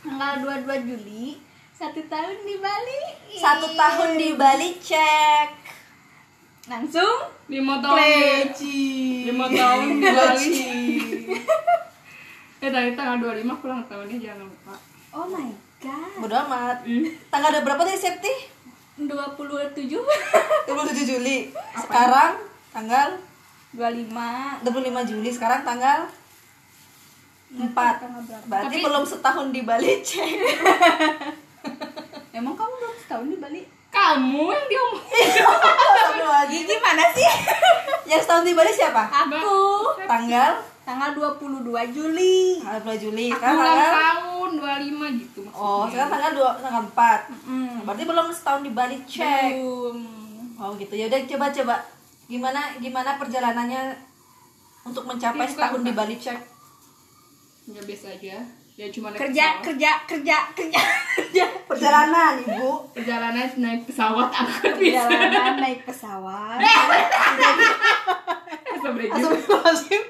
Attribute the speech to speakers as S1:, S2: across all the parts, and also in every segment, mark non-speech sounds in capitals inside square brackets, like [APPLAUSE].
S1: tanggal 22 Juli satu tahun di Bali
S2: Satu tahun di Bali cek.
S1: langsung
S3: lima tahun lima tahun di
S1: [LAUGHS]
S3: Bali eh dari tanggal 25 aku ulang tahunnya jangan lupa
S1: oh my god
S2: Bodo amat.
S3: Hmm.
S2: Tanggal ada berapa tadi Septi?
S1: 27 [LAUGHS]
S2: 27 Juli.
S3: ya?
S2: Sekarang tanggal
S1: 25
S2: 25 Juli. Sekarang tanggal 4.
S1: tanggal berapa?
S2: Berarti
S1: Tapi-
S2: belum setahun di Bali cek. [LAUGHS]
S1: emang kamu belum setahun di Bali
S3: kamu yang diomongin
S2: Satu lagi.
S1: gimana sih
S2: Yang setahun di Bali siapa?
S1: [LAUGHS] aku
S2: Tanggal
S1: tanggal 22 Juli
S2: tanggal 20 Juli.
S1: Iya,
S3: aku
S1: kan,
S2: Sekarang
S3: ulang
S2: tanggal
S3: tahun 25 gitu maksudnya
S2: Oh, sekarang tanggal 2 tanggal 4.
S1: hmm.
S2: Berarti belum setahun di Bali cek.
S3: Hmm.
S2: Oh gitu ya udah coba coba gimana gimana perjalanannya untuk mencapai
S3: Bukan,
S2: setahun di
S3: bukan.
S2: Bali cek
S3: ya biasa aja ya cuma naik
S1: kerja
S3: pesawat.
S1: kerja kerja kerja kerja
S2: perjalanan ibu
S3: perjalanan naik pesawat [LAUGHS] kan angkot bisa
S1: perjalanan naik pesawat
S3: sebenarnya
S2: Astagfirullahaladzim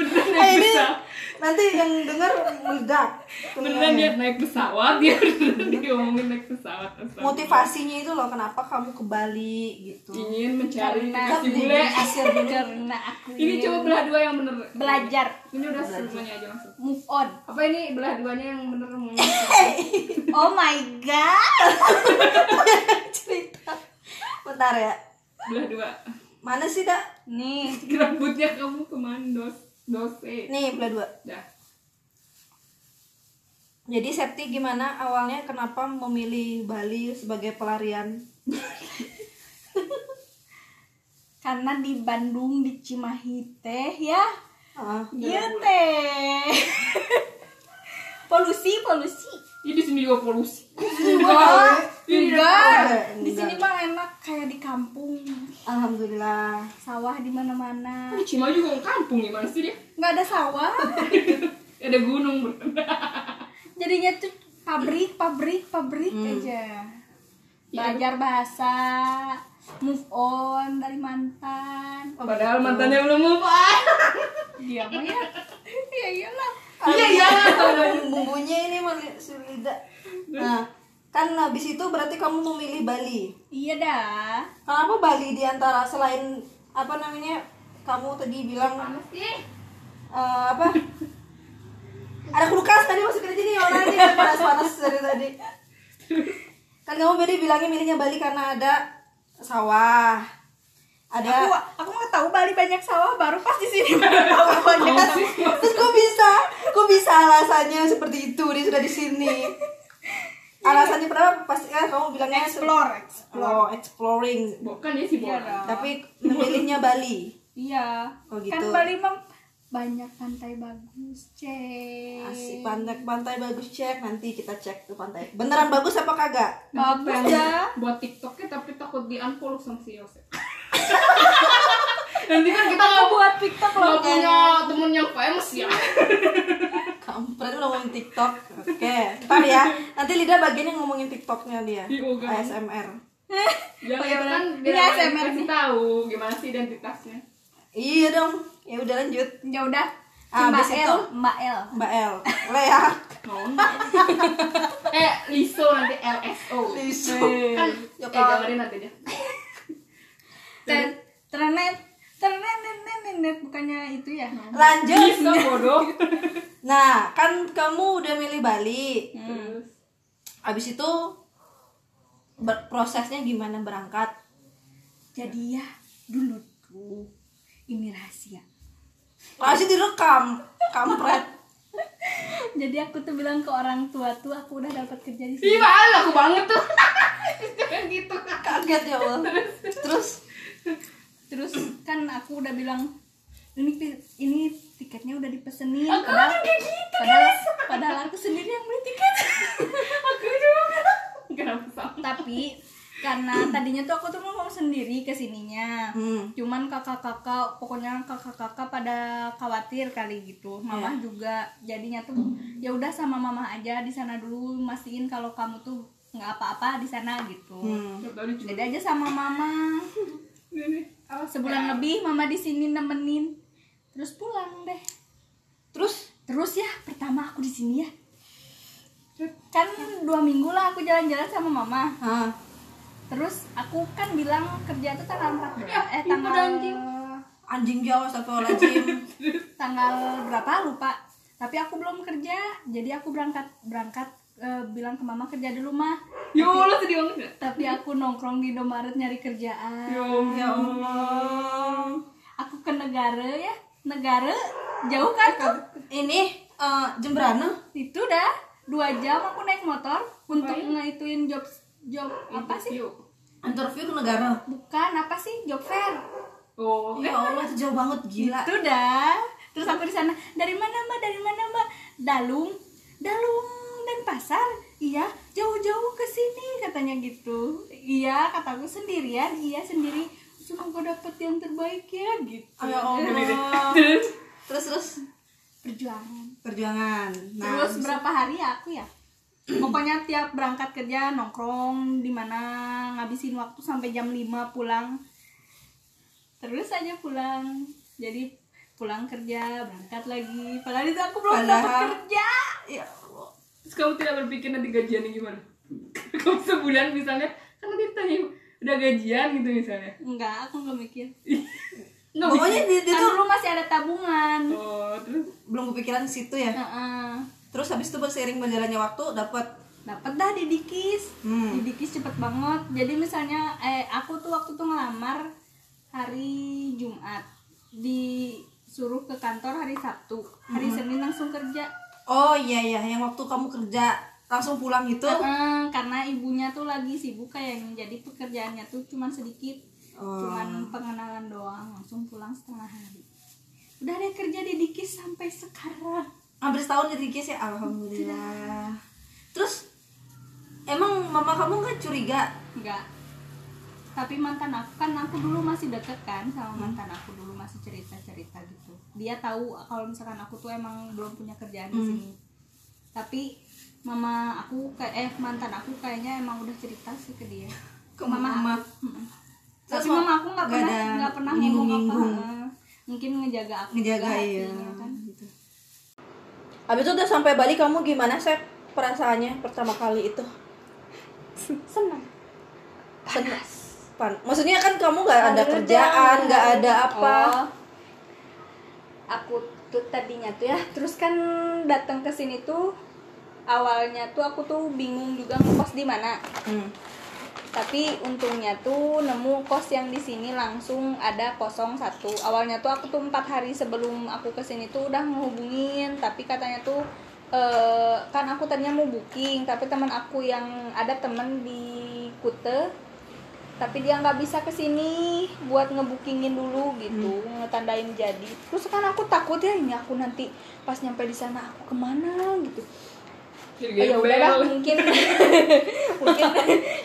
S3: beneran
S2: eh,
S3: naik
S2: ini
S3: pesawat
S2: nanti yang dengar meledak
S3: beneran dia naik pesawat dia [LAUGHS] beneran diomongin naik pesawat Astaga.
S2: motivasinya itu loh kenapa kamu ke Bali gitu
S3: ingin mencari
S1: Karena
S3: kasih
S2: ini-
S1: nah.
S3: bule
S1: karena aku ya.
S3: ini coba belah dua yang bener
S1: belajar
S3: ini udah semuanya aja langsung
S1: move on
S3: apa ini belah duanya yang
S1: [LAUGHS]
S3: bener mau
S1: oh my god
S2: cerita bentar ya
S3: belah dua
S2: mana sih dak
S1: nih
S3: [LAUGHS] rambutnya kamu kemana dos dose
S2: nih belah dua
S3: dah
S2: jadi Septi gimana awalnya kenapa memilih Bali sebagai pelarian
S1: karena di Bandung di Cimahi teh ya
S2: Ah,
S1: iya teh [LAUGHS] polusi polusi
S3: ini di sini juga polusi
S2: Wah,
S3: Iya,
S1: Iya. enggak di
S2: Enggak.
S1: sini mah enak kayak di kampung
S2: alhamdulillah
S1: sawah di mana mana
S3: cuma juga orang kampung gimana sih dia
S1: nggak ada sawah [LAUGHS]
S3: ada gunung bener.
S1: jadinya tuh pabrik pabrik pabrik aja belajar bahasa move on dari mantan
S2: Oh,
S3: padahal
S2: gitu.
S3: mantannya belum move on
S1: dia mah ya iya iyalah
S3: iya iya
S2: bumbunya ini masih sulit lidah. Nah, kan habis itu berarti kamu memilih Bali.
S1: iya dah
S2: Kenapa Bali di antara selain apa namanya? Kamu tadi bilang
S3: sih
S2: eh, apa? Ada kulkas tadi masukin aja nih orang ini panas-panas dari tadi. Kan kamu tadi bilangnya milihnya Bali karena ada sawah.
S1: aku
S2: Ada
S1: aku nggak tahu Bali banyak sawah baru pas di sini baru [LAUGHS] tahu banyak sawah.
S2: [LAUGHS] Terus kok bisa? Kok bisa alasannya seperti itu? Dia sudah di sini. Alasannya kenapa? Pasti kan kamu bilangnya
S1: explore explore
S2: Oh, exploring.
S3: bukan ya si
S1: Iya
S3: bola
S1: dong.
S2: Tapi memilihnya Bali.
S1: iya
S2: Oh, gitu.
S1: kan Bali mah banyak pantai bagus cek
S2: Asik pantai-pantai bagus cek nanti kita cek ke pantai. Beneran bagus apa kagak?
S1: bagus
S3: Aku pengen
S1: [LAUGHS] ya
S3: Iya. buat TikToknya tapi takut di unfollow sama si
S1: [LAUGHS]
S3: Yosef nanti kan kita nggak
S1: buat TikTok
S3: nggak
S1: loh
S3: punya temen yang famous ya
S2: Kampret udah ngomongin TikTok. Oke, ntar ya. Nanti Lida bagiannya ngomongin TikToknya dia.
S3: Iya, oke.
S2: ASMR.
S1: [LAUGHS]
S3: ya
S1: Oh, iya,
S3: itu
S1: bener.
S3: kan
S1: Ini
S3: biar
S1: ASMR
S3: kasih tahu gimana sih identitasnya
S2: Iya dong. Ya udah lanjut.
S1: ya udah si
S2: Ah,
S1: Mbak
S2: abis
S1: El
S2: itu?
S1: Mbak El
S2: Mbak El, ya? Lea,
S3: mau
S1: Oh.
S3: [LAUGHS] eh Liso nanti LSO
S2: Liso.
S3: kan
S1: Iya,
S3: eh
S2: Yoko.
S3: gambarin nanti deh
S1: Ter- Ternet ternet bukannya itu ya
S2: Lanjut.
S3: Liso bodoh
S2: Nah, kan kamu udah milih Bali.
S3: terus
S2: Abis itu ber- prosesnya gimana berangkat?
S1: jadi ya dulu tuh ini rahasia
S2: Masih direkam. Kampret.
S1: [LAUGHS] jadi aku tuh bilang ke orang tua tuh aku udah dapat kerja di
S3: Ih,
S1: sini
S3: mahal aku banget tuh Jangan gitu
S2: kaget ya Allah terus
S1: terus kan aku udah bilang ini ti- ini tiketnya udah dipesenin
S2: Oh,
S3: Aku
S1: padahal
S3: kan kayak gitu,
S1: padahal, padahal aku sendiri yang beli tiket
S2: [LAUGHS]
S3: aku juga kenapa sama
S1: tapi karena tadinya tuh aku tuh mau sendiri ke sininya
S2: Hmm.
S1: cuman kakak-kakak pokoknya kakak-kakak pada khawatir kali gitu mama
S2: Iya.
S1: juga jadinya tuh ya udah sama mama aja di sana dulu mastiin kalau kamu tuh nggak apa-apa di sana gitu
S2: hmm.
S3: Coba lucu
S1: jadi aja sama mama
S3: Ini, awas.
S2: Iya.
S1: sebulan lebih mama di sini nemenin terus pulang deh
S2: terus
S1: terus ya pertama aku di sini ya kan dua minggu lah aku jalan-jalan sama mama
S2: Hah.
S1: terus aku kan bilang kerja tuh tanggal 14 eh tanggal
S2: Anjing jauh satu
S1: [LAUGHS]
S2: lajim.
S1: tanggal berapa lupa tapi aku belum kerja jadi aku berangkat berangkat eh, bilang ke mama kerja dulu mah
S3: Ya Allah sedih banget ya.
S1: tapi aku nongkrong di Indomaret nyari kerjaan
S3: Ya Allah.
S2: ya Allah.
S1: aku ke negara ya negara jauh kan tuh
S2: Ini eh, Jembrana.
S1: itu dah dua jam aku naik motor untuk ngeituin job job apa sih
S3: Yuk.
S2: Interview ke negara.
S1: bukan apa sih job fair
S3: Oh,
S2: Ya Allah, itu jauh banget gila.
S1: itu dah terus aku di sana dari mana mbak dari mana mbak dalung dalung dan pasar iya jauh-jauh ke sini katanya gitu iya kataku sendirian iya sendiri semoga dapat yang terbaik ya gitu
S2: Oh, ya Allah. terus terus
S1: perjuangan
S2: perjuangan. Nah,
S1: terus berapa hari ya aku ya pokoknya tiap berangkat kerja nongkrong di mana ngabisin waktu sampai jam 5 pulang terus aja pulang jadi pulang kerja berangkat lagi padahal itu aku belum dapat
S2: Padahal-
S1: kerja
S2: ya Allah.
S3: Terus kamu tidak berpikir nanti gajiannya gimana? [LAUGHS] kamu sebulan misalnya, kan nanti ditanya udah gajian gitu misalnya.
S1: enggak aku nggak mikir
S3: Nggak
S2: Pokoknya di, di
S1: kan
S2: tuh
S1: dulu masih ada tabungan
S3: Oh, terus
S2: belum kepikiran situ
S1: Nah.
S2: ya.
S1: Heeh.
S2: Terus habis itu berseiring berjalannya waktu dapat
S1: dapat dah didikis
S2: Hmm.
S1: didikis cepet banget jadi misalnya eh aku tuh waktu tuh ngelamar hari Jumat disuruh ke kantor hari Sabtu hari
S2: Hmm.
S1: Senin langsung kerja
S2: Oh iya iya, yang waktu kamu kerja langsung pulang gitu.
S1: Eh, karena ibunya tuh lagi sibuk kayaknya jadi pekerjaannya tuh cuman sedikit
S2: Oh.
S1: cuman pengenalan doang langsung pulang setengah hari udah deh kerja didikis sampai sekarang
S2: Hampir setahun jadi guys ya, alhamdulillah. Terus emang mama kamu nggak curiga?
S1: enggak tapi mantan aku kan aku dulu masih deket kan
S2: Hmm.
S1: sama mantan aku dulu masih cerita cerita gitu dia tahu kalau misalkan aku tuh emang belum punya kerjaan
S2: Hmm.
S1: di sini tapi mama aku kayak eh mantan aku kayaknya emang udah cerita sih ke
S2: [LAUGHS]
S1: dia
S2: Ke mama.
S1: Mm-mm.
S2: Terus
S1: tapi
S2: ma-
S1: mama aku nggak
S2: nggak
S1: pernah
S2: ada
S1: nggak pernah ngomong apa
S2: nyinggung-nyinggung.
S1: Eh, mungkin ngejaga aku
S2: Ngejaga
S1: juga
S2: ya.
S1: hatinya kan.
S2: Gitu. Habis itu udah sampai Bali kamu gimana sih perasaannya pertama kali itu?
S1: senang
S2: Panas. Pan. Maksudnya kan kamu nggak ada kerjaan, nggak ada apa.
S1: Oh. aku tuh tadinya tuh ya terus kan datang ke sini tuh awalnya tuh aku tuh bingung juga ngekos di mana
S2: Hmm.
S1: tapi untungnya tuh nemu kos yang di sini langsung ada 01 awalnya tuh aku tuh empat hari sebelum aku kesini tuh udah ngehubungin tapi katanya tuh eh, kan aku tadinya mau booking tapi teman aku yang ada temen di Kute tapi dia nggak bisa kesini buat ngebookingin dulu gitu ngetandain jadi terus kan aku takut ya ini aku nanti pas nyampe di sana aku kemana gitu
S3: jadi
S1: ya udahlah
S3: gembel.
S1: mungkin [LAUGHS] mungkin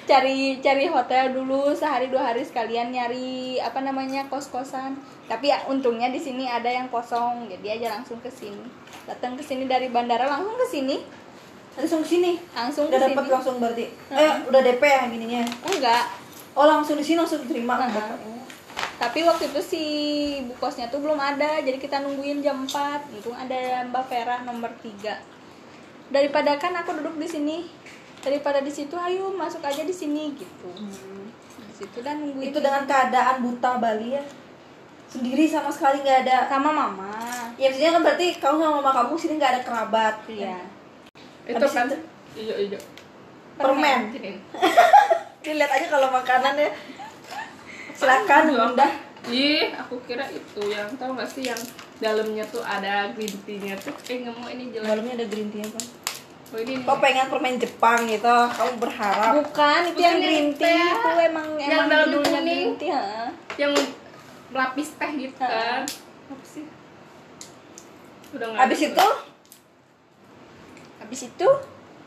S1: cari cari hotel dulu sehari dua hari sekalian nyari apa namanya kos kosan tapi ya untungnya di sini ada yang kosong jadi aja langsung ke sini datang ke sini dari bandara langsung ke sini
S2: Langsung sini.
S1: langsung ke
S2: Udah dapat
S1: sini Hmm.
S2: langsung berarti. Eh, udah DP ya gininya.
S1: enggak
S2: Oh, langsung di sini langsung terima.
S1: Heeh. tapi waktu itu si bukosnya tuh belum ada jadi kita nungguin jam 4 untung ada mbak Vera nomor 3 daripada kan aku duduk di sini daripada di situ ayo masuk aja di sini gitu di situ dan nungguin
S2: Itu dengan keadaan buta Bali ya. Sendiri sama sekali nggak ada.
S1: sama mama
S2: Ya maksudnya kan berarti kamu sama mama kamu sini nggak ada kerabat.
S1: iya
S3: Itu
S2: Habis
S3: kan
S2: itu-
S3: ijo ijo.
S2: Permen.
S3: Gini.
S2: Dilihat aja kalau makanannya. Silakan, Bunda.
S3: Ih, aku kira itu yang tau gak sih yang dalamnya tuh ada green tea-nya tuh eh nggak mau ini jelek.
S2: Malamnya ada green tea apa?
S3: Oh ini. ini.
S2: Kau pengen permen Jepang gitu, kamu berharap.
S1: bukan itu yang
S3: Bukan
S1: green
S3: yang
S1: tea
S3: teh.
S1: itu emang
S3: Yang
S1: emang
S3: dalam
S1: judulnya
S3: kuning.
S1: green tea heeh.
S3: yang lapis teh gitu kan. Apa sih? Udah nggak.
S2: Habis itu
S1: habis itu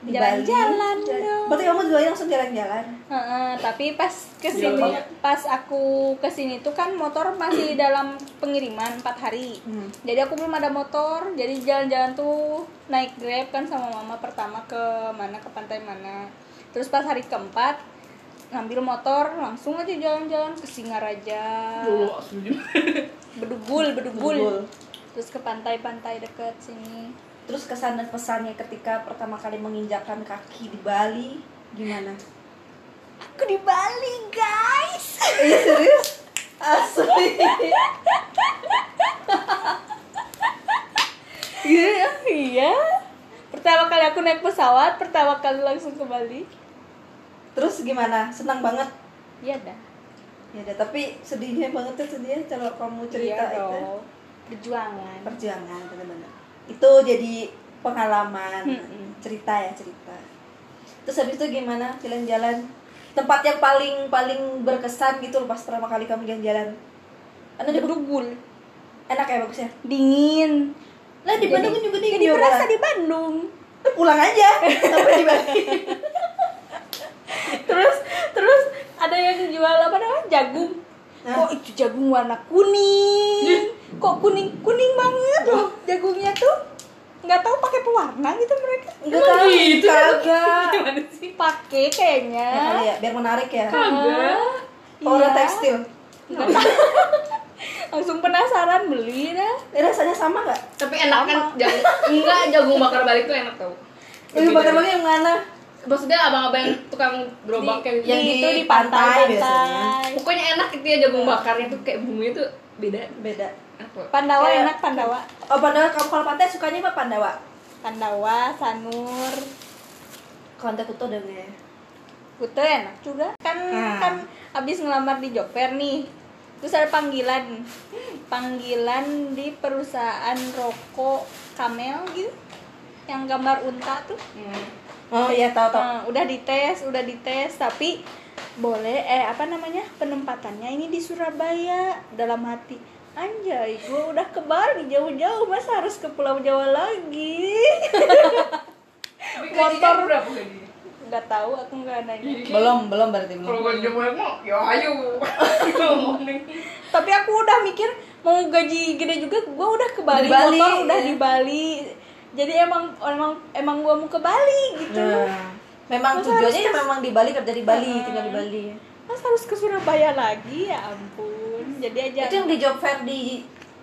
S2: di Bali.
S1: jalan-jalan dong
S2: Berarti kamu juga langsung jalan-jalan.
S1: Heeh, tapi pas kesini
S3: Jauh banget.
S1: pas aku kesini tuh kan motor masih [CLEARS THROAT] dalam pengiriman empat hari
S2: Hmm.
S1: jadi aku belum ada motor jadi jalan-jalan tuh naik grab kan sama mama pertama ke mana ke pantai mana terus pas hari keempat ngambil motor langsung aja jalan-jalan ke Singaraja
S3: Dulu
S2: [LAUGHS]
S3: asli.
S1: bedugul bedugul
S2: Bedugul.
S1: terus ke pantai-pantai deket sini
S2: Terus kesan dan pesannya ketika pertama kali menginjakan kaki di Bali gimana?
S1: Aku di Bali guys.
S2: Iya serius? Asli.
S1: Iya, iya. Pertama kali aku naik pesawat, pertama kali langsung ke Bali.
S2: Terus gimana? Senang banget.
S1: Iya dah.
S2: Ya deh, tapi sedihnya banget tuh sedihnya kalau kamu cerita
S1: iya
S2: itu.
S1: dong. Perjuangan.
S2: Perjuangan benar-benar. Itu jadi pengalaman,
S1: Mm-mm.
S2: cerita ya cerita. Terus habis itu gimana jalan-jalan? Tempat yang paling paling berkesan gitu loh pas pertama kali kamu jalan-jalan. Anda di
S1: Bedugul.
S2: enak ya bagusnya.
S1: Dingin. Iya,
S2: Lah di Bandung juga dingin
S1: Jadi
S2: ya,
S1: berasa
S2: Bang?
S1: di Bandung.
S2: Lu pulang aja. Sampai di Bali.
S1: [LAUGHS] terus terus ada yang jual apa namanya jagung
S2: Hah?
S1: kok itu jagung warna kuning kok kuning kuning banget loh jagungnya tuh nggak tahu pakai pewarna gitu mereka
S2: [LAUGHS] Enggak
S3: Emang
S2: kali,
S3: gitu?
S2: kagak.
S3: Gimana sih?
S1: pakai kayaknya
S2: Ya kali ya, biar menarik ya.
S3: Kagak.
S2: Power
S1: Iya.
S2: tekstil.
S1: Nggak tahu. langsung penasaran beli dah
S2: Eh, rasanya sama nggak?
S3: Tapi enak kan jagung. Enggak, jagung bakar balik tuh enak tau.
S2: Yang
S3: Lebih
S2: bakar
S3: dari-
S2: lagi yang mana?
S3: Maksudnya abang-abang yang tukang gerobak
S1: Di-
S3: yang
S1: yang
S2: di iya.
S1: itu di
S2: pantai
S1: pantai
S2: biasanya.
S1: pantai
S3: pokoknya enak gitu ya jagung bakarnya tuh kayak bumbunya tuh beda.
S2: Beda.
S3: Apa?
S1: Pandawa
S2: Kayak-
S1: enak Pandawa
S2: Oh, Pandawa, kamu kalau pantai sukanya apa Pandawa?
S1: Pandawa Sanur
S2: Kalau Pantai Kuto dong ya.
S1: Kute enak juga kan
S2: Hmm.
S1: kan abis ngelamar di Joper nih terus ada panggilan panggilan di perusahaan rokok Kamel gitu yang gambar unta tuh
S3: Hmm.
S2: Oh iya tahu tahu.
S1: Nah, udah dites udah dites tapi boleh eh apa namanya penempatannya ini di Surabaya dalam hati anjay gue udah ke Bali jauh-jauh masa harus ke Pulau Jawa lagi [LAUGHS]
S3: Tapi
S1: Motor.
S3: gajinya berapa gajinya?
S1: nggak tahu aku nggak nanya
S2: Belum belum berarti
S3: Kalau gajinya banyak mah, ya ayo. Ngomongin.
S1: tapi aku udah mikir mau gaji gede juga gue udah ke Bali,
S2: Di Bali,
S1: motor udah
S2: ya.
S1: di Bali jadi emang emang emang gue mau ke Bali gitu
S2: Nah, memang tujuannya ya memang di Bali kerja di Bali,
S1: Ah,
S2: tinggal di Bali.
S1: mas harus ke Surabaya lagi ya ampun jadi aja
S2: Itu yang di job fair di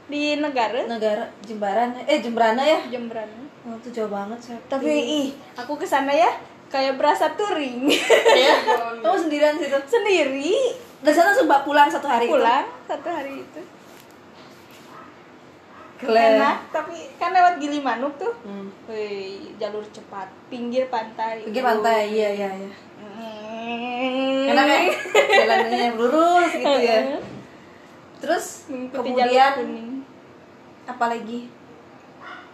S1: di negara
S2: negara Jembaran eh Jembrana ya.
S1: Jemberana
S2: Oh, itu jauh banget Iya. sih.
S1: tapi eh, ih aku kesana ya kayak berasa touring [LAUGHS] iya.
S2: ya. Kamu sendirian situ.
S1: sendiri
S2: Dan sana langsung bak- pulang satu hari. itu.
S1: pulang satu hari itu
S2: Keren.
S1: enak tapi kan lewat Gili Manuk tuh
S2: Hmm.
S1: Wih, jalur cepat pinggir pantai
S2: Pergi pantai, iya iya iya.
S1: Hmm. Iya.
S2: Enak ya? Jalanannya lurus gitu ya. Terus
S1: Mengikuti jalur
S2: kemudian
S1: kuning.
S2: apa lagi?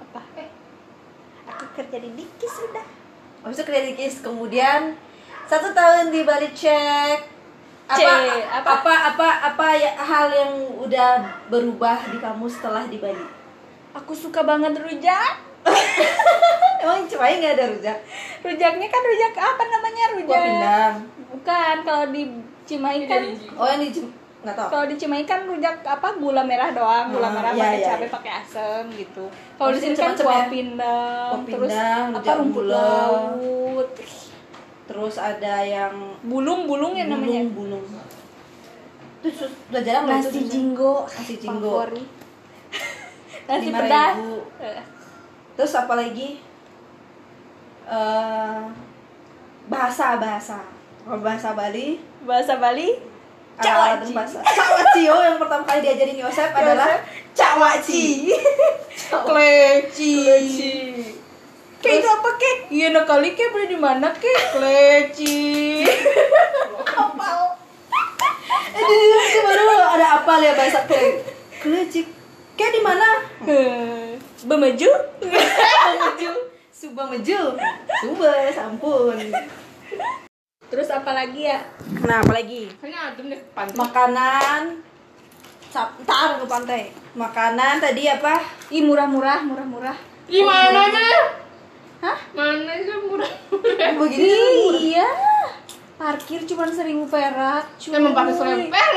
S1: apa aku kerja di Diki sudah
S2: Habis itu Crazy Kiss kemudian satu tahun di Bali cek apa,
S1: Cek,
S2: apa
S1: apa?
S2: apa apa apa ya- hal yang udah berubah di kamu setelah di Bali?
S1: aku suka banget rujak
S2: Kan Emang cuma nggak ada rujak?
S1: rujaknya kan rujak apa namanya
S2: Gua
S1: rujak
S2: pindang.
S1: bukan kalau di Cimahi kan
S2: Oh yang di Jem- nggak tau.
S1: kalau di Cimahi kan rujak apa gula merah doang gula
S2: Hmm,
S1: merah
S2: iya,
S1: pakai
S2: iya,
S1: cabai
S2: iya.
S1: pakai asem gitu kalau di sini
S2: Maksudnya
S1: kan
S2: macam-macam
S1: kuah
S2: ya?
S1: pindang
S2: Kuah
S1: terus
S2: pindang,
S1: apa
S2: rujak
S1: rumput
S2: gula.
S1: laut
S2: Terus ada yang
S1: bulung bulung ya namanya
S2: bulung bulung. Itu sus- udah jarang loh
S1: nasi
S2: itu susah.
S1: jinggo
S2: Nasi jinggo.
S1: favorit. [LAUGHS] nasi
S2: 5.000.
S1: pedas Eh,
S2: Terus apa lagi? Eh, bahasa bahasa Kalau bahasa Bali
S1: bahasa Bali
S2: Cawaci. bahasa. Cawaci yo oh, yang pertama kali diajarin Yosep adalah cawaci.
S1: kleci Kek itu apa kek? Iya nah kali kek beli di mana kek? Kleci.
S2: [LAUGHS] Eh, di itu baru ada apa ya bahasa kle. Klecik. Kayak di mana?
S1: Eh,
S2: [LAUGHS]
S1: Bemaju?
S2: Meju. Subang Meju. Sumber, sampun.
S1: Terus apa lagi ya?
S2: Nah, apalagi
S3: Kayaknya adem deh pantai.
S2: makanan Sa- ntar ke pantai. Makanan tadi apa? [LAUGHS]
S1: Ih murah-murah, murah-murah.
S3: Gimana aja? ya?
S1: Hah?
S3: Mana aja murah? kan
S2: Begini.
S1: Ih, iya. Parkir cuman seribu perak. Cuy.
S3: Emang pakai selemper.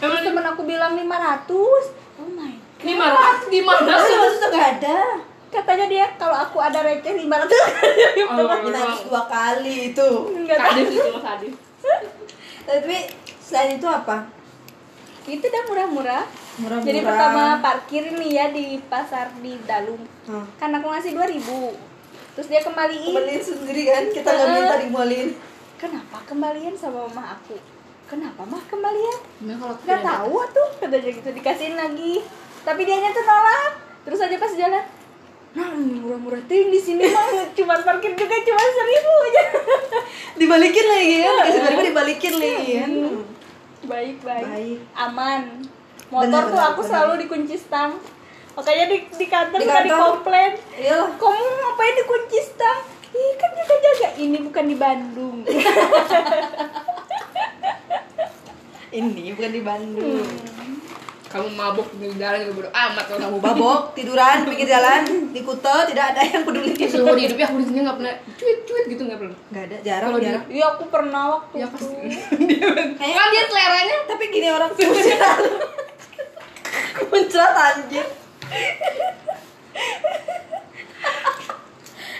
S1: Terus
S3: Emang
S1: temen aku bilang 500 Oh my.
S3: lima ratus di mana?
S2: Maksudnya Ah, nggak ada.
S1: Katanya dia kalau aku ada receh [LAUGHS] 500
S2: Kita nangis dua kali itu.
S1: Enggak tahu.
S3: Sadis itu mas sadis.
S2: Tapi selain itu apa?
S1: Itu dah murah-murah.
S2: murah-murah
S1: Jadi pertama parkir nih ya di pasar di Dalum.
S2: Hmm.
S1: Kan aku ngasih 2000. Terus dia kembaliin.
S2: Kembaliin sendiri kan kita nggak
S1: Heeh.
S2: minta dikembaliin
S1: Kenapa kembalian sama mama aku? Kenapa mah kembalian?
S3: Nah, kalau aku
S1: Gak
S3: ada-
S1: tahu tuh katanya gitu dikasihin lagi. Tapi dianya tuh nolak. Terus aja pas jalan. Nah, ini murah-murah ting di sini mah cuma parkir juga cuma seribu aja. [LAUGHS]
S2: dibalikin lagi
S3: Iya.
S2: kan kasih balik dibalikin lagi kan
S1: baik, baik
S2: Baik.
S1: aman motor
S2: Benar,
S1: tuh
S2: benar,
S1: aku
S2: benar.
S1: selalu dikunci stang makanya di, di kantor
S2: Di
S1: suka
S2: kantor.
S1: dikomplain
S2: Iyalah.
S1: kamu ngapain dikunci stang Ih, kan juga jaga ini bukan di
S2: [LAUGHS]
S1: Bandung
S2: ini bukan di Bandung
S3: Hmm. Kamu mabuk di jalan juga bodo amat kalau
S2: kamu
S3: kamu
S2: babok tiduran pinggir jalan di kute tidak ada yang peduli
S3: seumur hidupnya aku di sini nggak pernah cuit cuit gitu nggak pernah
S2: nggak ada jarang
S3: Kalau di-
S2: jarang
S1: iya aku pernah waktu
S3: ya
S1: itu
S3: pasti kan dia seleranya
S2: tapi gini orang kunciran kunciran anjir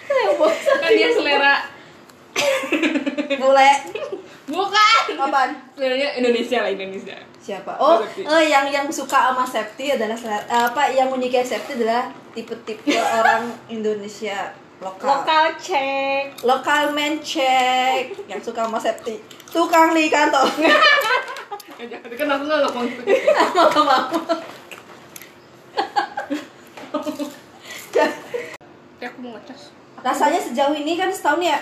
S3: kan dia selera
S2: mulai
S3: bukan
S2: kapan
S3: seleranya Indonesia lah Indonesia
S2: siapa oh
S3: Safety.
S2: eh, yang yang suka sama safety adalah selera- apa yang menyukai safety adalah tipe-tipe orang Indonesia lokal lokal,
S1: lokal cek
S2: man check yang suka sama safety tukang di kantor
S3: Jangan kan aku nggak ngomong gitu aku mau ngecas
S2: rasanya sejauh ini kan setahun ya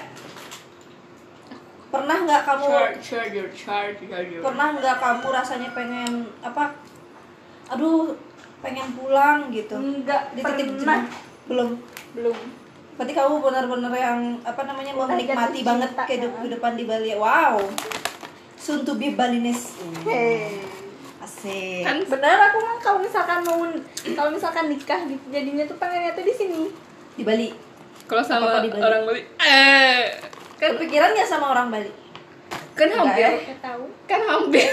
S2: pernah nggak kamu
S3: charge charger charge charger
S2: pernah nggak kamu rasanya pengen apa aduh pengen pulang gitu
S1: enggak
S2: di titik
S1: Hmm, pernah
S2: jenuh? belum
S1: belum
S2: Berarti kamu benar-benar yang apa namanya
S1: Kita
S2: menikmati
S1: jatuh
S2: banget
S1: cinta,
S2: kehidup-
S1: kan?
S2: kehidupan di Bali. Wow. Soon to be Balinese. Asik.
S3: kan
S1: benar aku mah kalau misalkan mau kalau misalkan nikah gitu jadinya tuh pengennya tuh di sini
S2: Di Bali.
S3: kalau sama
S2: Apa-apa di Bali.
S3: orang Bali eh kan
S2: Kepikiran nggak sama orang Bali?
S3: kan
S2: Enggak
S3: hampir
S2: ya.
S1: nggak tahu
S3: kan hampir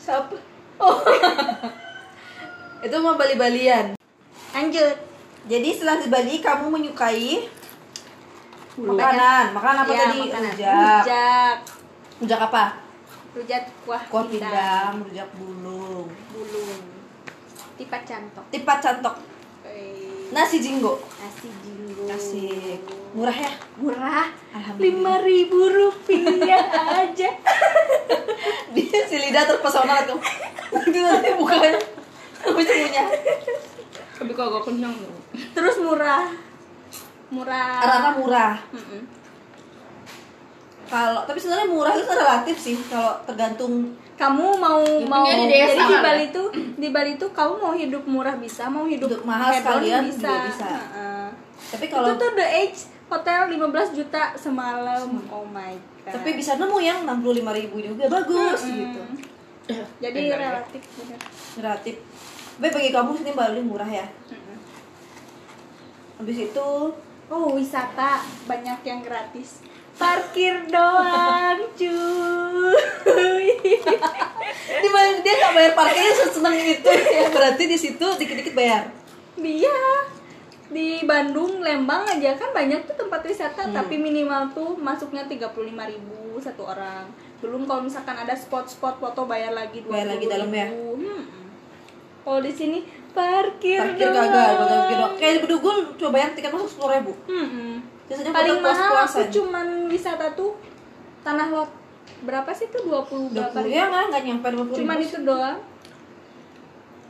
S2: Siapa? Oh. [LAUGHS] Itu mau Bali-Balian.
S1: lanjut
S2: Jadi setelah di Bali kamu menyukai
S1: Pulau.
S2: makanan. Iya, Makanan apa
S1: Ya,
S2: tadi?
S1: makanan.
S2: Rujak.
S1: rujak
S2: Rujak apa?
S1: rujak kuah,
S2: Kuah
S1: pindang.
S2: pindang, rujak bulung.
S1: bulung tipat cantok
S2: Tipat cantok.
S1: Eh,
S2: Nasi jinggo.
S1: nasi jinggo
S2: Asik. Murah ya? [LAUGHS]
S1: murah
S2: Alhamdulillah.
S1: lima ribu rupiah aja
S2: dia si lidah terpesona [LAUGHS] tuh itu nanti mukanya habis punya
S3: tapi kalau gak kenyang loh
S1: terus murah murah
S2: rata murah
S1: Mm-mm.
S2: kalau tapi sebenarnya murah itu relatif sih kalau tergantung
S1: kamu mau
S3: Yang
S1: mau
S3: penting ada desa
S1: jadi di
S3: kan?
S1: Bali tuh di Bali tuh kamu mau hidup murah bisa mau hidup,
S2: Hidup mahal
S1: hedon
S2: sekalian
S1: bisa,
S2: juga bisa.
S1: Heeh.
S2: tapi
S1: itu
S2: kalau
S1: tuh the age hotel 15 juta semalam oh my god
S2: tapi bisa nemu yang 65.000 ribu juga bagus
S1: Mm-mm.
S2: gitu
S1: Hmm. jadi
S3: Bentar ya.
S1: relatif bener.
S2: relatif tapi bagi kamu sini Bali murah ya
S1: Mm-mm.
S2: habis itu
S1: Oh wisata banyak yang gratis. Parkir doang [LAUGHS] cuy.
S2: di Bali dia nggak bayar parkirnya seneng
S1: [LAUGHS]
S2: itu ya berarti di situ dikit-dikit bayar
S1: Dia di Bandung, Lembang aja kan banyak tuh tempat
S2: Hmm.
S1: wisata tapi minimal tuh masuknya 35.000 satu orang. Belum kalau misalkan ada spot-spot foto bayar lagi dua Hmm.
S2: Bayar lagi dalam ya?
S1: Kalau di sini parkir,
S2: parkir
S1: doang.
S2: gagal gagal gitu kayak di Bedugul coba bayar tiket masuk sepuluh ribu
S1: Mm-mm.
S2: biasanya
S1: Paling
S2: foto
S1: mahal
S2: puas-puasan.
S1: aku cuman wisata tuh tanah lot berapa sih tuh 20
S2: Udah
S1: berapa Iya,
S2: ya nggak nggak nyampe dua puluh
S1: cuman itu doang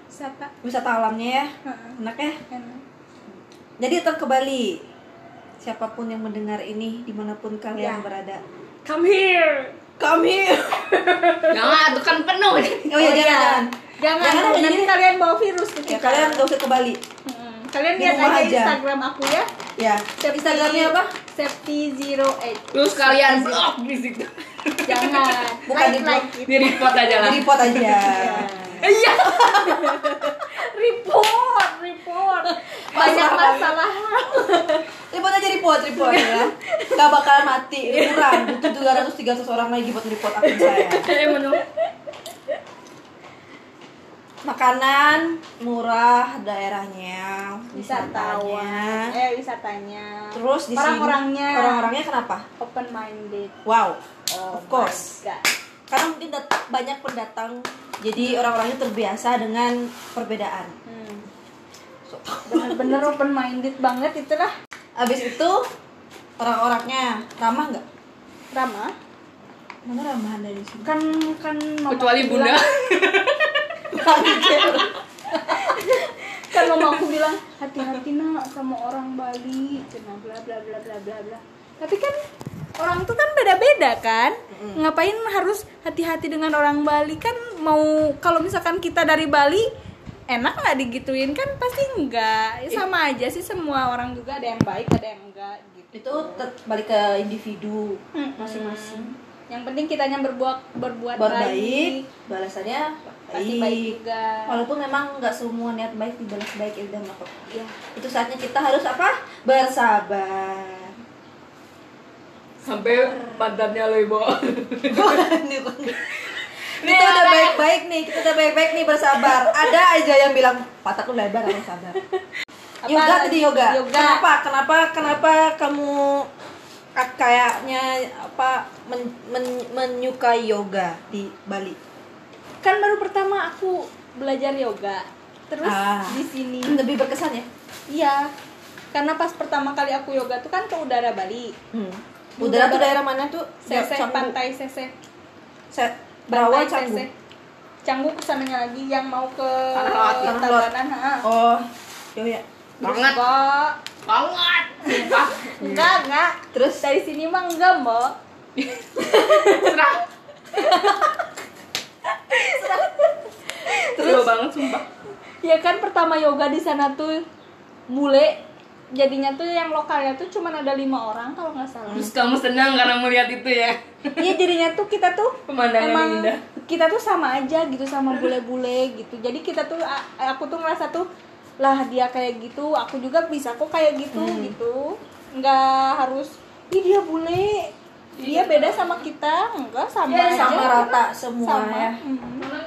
S1: wisata
S2: wisata alamnya ya
S1: Heeh,
S2: enak ya
S1: enak.
S2: jadi tetap ke Bali siapapun yang mendengar ini dimanapun
S1: Ya.
S2: kalian berada
S1: come here
S2: kami
S3: jangan tuh kan penuh
S2: oh iya jangan
S1: jangan,
S2: Jangan,
S1: nanti
S2: jadi-
S1: kalian bawa virus ke
S2: jangan. ya
S1: kita
S2: kalian gak usah ke Bali
S1: Mm-mm. kalian
S2: Di
S1: lihat
S2: rumah
S1: aja,
S2: aja.
S1: instagram aku ya
S2: ya Instagramnya apa
S1: safety zero eight
S3: terus kalian blok di situ
S1: jangan
S2: [LAUGHS] Bukan
S1: like
S2: di blog.
S1: like it
S3: di report aja lah
S2: di report [LAUGHS] aja
S3: iya
S1: report
S2: [LAUGHS]
S1: report banyak
S2: Masalah.
S1: masalah
S2: report aja report report ya gak bakalan [LAUGHS] mati ini kurang butuh dua ratus tiga ratus orang lagi buat report akun saya
S3: eh menurut
S2: makanan murah daerahnya
S1: wisatawan
S2: wisatanya
S1: eh wisatanya
S2: terus di sini
S1: orang-orangnya
S2: orang-orangnya kenapa
S1: open minded
S2: wow
S1: Oh
S2: Of course.
S1: my God.
S2: karena mungkin dat- banyak pendatang jadi orang-orangnya terbiasa dengan perbedaan
S1: Hmm. bener-bener open minded banget itulah
S2: abis itu orang-orangnya ramah nggak
S1: Rama
S2: mana ramahan dari [LAUGHS] sini
S1: kan kan mama
S3: [LAUGHS] kecuali
S1: aku
S3: bunda
S1: bilang- kan mama aku bilang hati-hati nak sama orang Bali cina bla bla bla bla bla bla tapi kan orang tuh kan beda-beda kan ngapain harus hati-hati dengan orang Bali kan mau kalau misalkan kita dari Bali enak nggak digituin kan pasti enggak Ya, sama aja sih semua orang juga ada yang baik ada yang enggak gitu
S2: itu tet- balik ke individu
S1: masing-masing yang penting kitanya berbuat berbuat
S2: baru
S1: baik,
S2: baik balasannya
S1: pasti baik juga
S2: walaupun memang nggak semua niat baik dibalas baik ya udah nggak apa-apa.
S1: ya
S2: itu saatnya kita harus apa [LAUGHS] bersabar
S3: sampai mantannya lebo
S2: Nih, kita udah baik-baik nih, kita udah baik-baik nih bersabar. Ada aja yang bilang patah lu lebar harus sabar. yoga
S1: lagi?
S2: tadi yoga.
S1: Yoga.
S2: Kenapa? Kenapa? Kenapa kamu ka- kayaknya apa men- men- menyukai yoga di Bali?
S1: kan baru pertama aku belajar yoga terus
S2: Ah.
S1: di sini
S2: Lebih berkesan ya?
S1: iya karena pas pertama kali aku yoga tuh kan ke udara Bali
S2: Hmm. Udara tuh daerah mana tuh?
S1: sese
S2: Canggu.
S1: pantai sese
S2: Se- Berawa
S1: Pantai
S2: Canggu.
S1: Sese. Canggu kesananya lagi yang mau ke
S3: Tanah Lot,
S2: Tanah Lot.
S1: Tabanan ha.
S2: Oh, yo ya.
S3: banget
S1: Mbak.
S3: banget sumpah
S1: enggak enggak
S2: Terus
S1: dari sini mah enggak mbak
S3: serah Seru banget sumpah
S1: ya kan pertama yoga di sana tuh bule jadinya tuh yang lokalnya tuh cuman ada lima orang kalau nggak salah
S2: Hmm,
S3: Terus kamu senang karena melihat itu ya
S1: Iya jadinya tuh kita tuh
S3: Pemandangan
S1: emang
S3: indah.
S1: kita tuh sama aja gitu sama bule-bule gitu. Jadi kita tuh a- aku tuh ngerasa tuh lah dia kayak gitu, aku juga bisa kok kayak gitu
S2: Hmm.
S1: gitu. Enggak harus ih dia bule. Dia beda sama kita, enggak sama
S3: Iya,
S1: aja.
S2: Iya. sama rata semua
S1: Sama.
S2: ya.
S1: Mm.
S3: Karena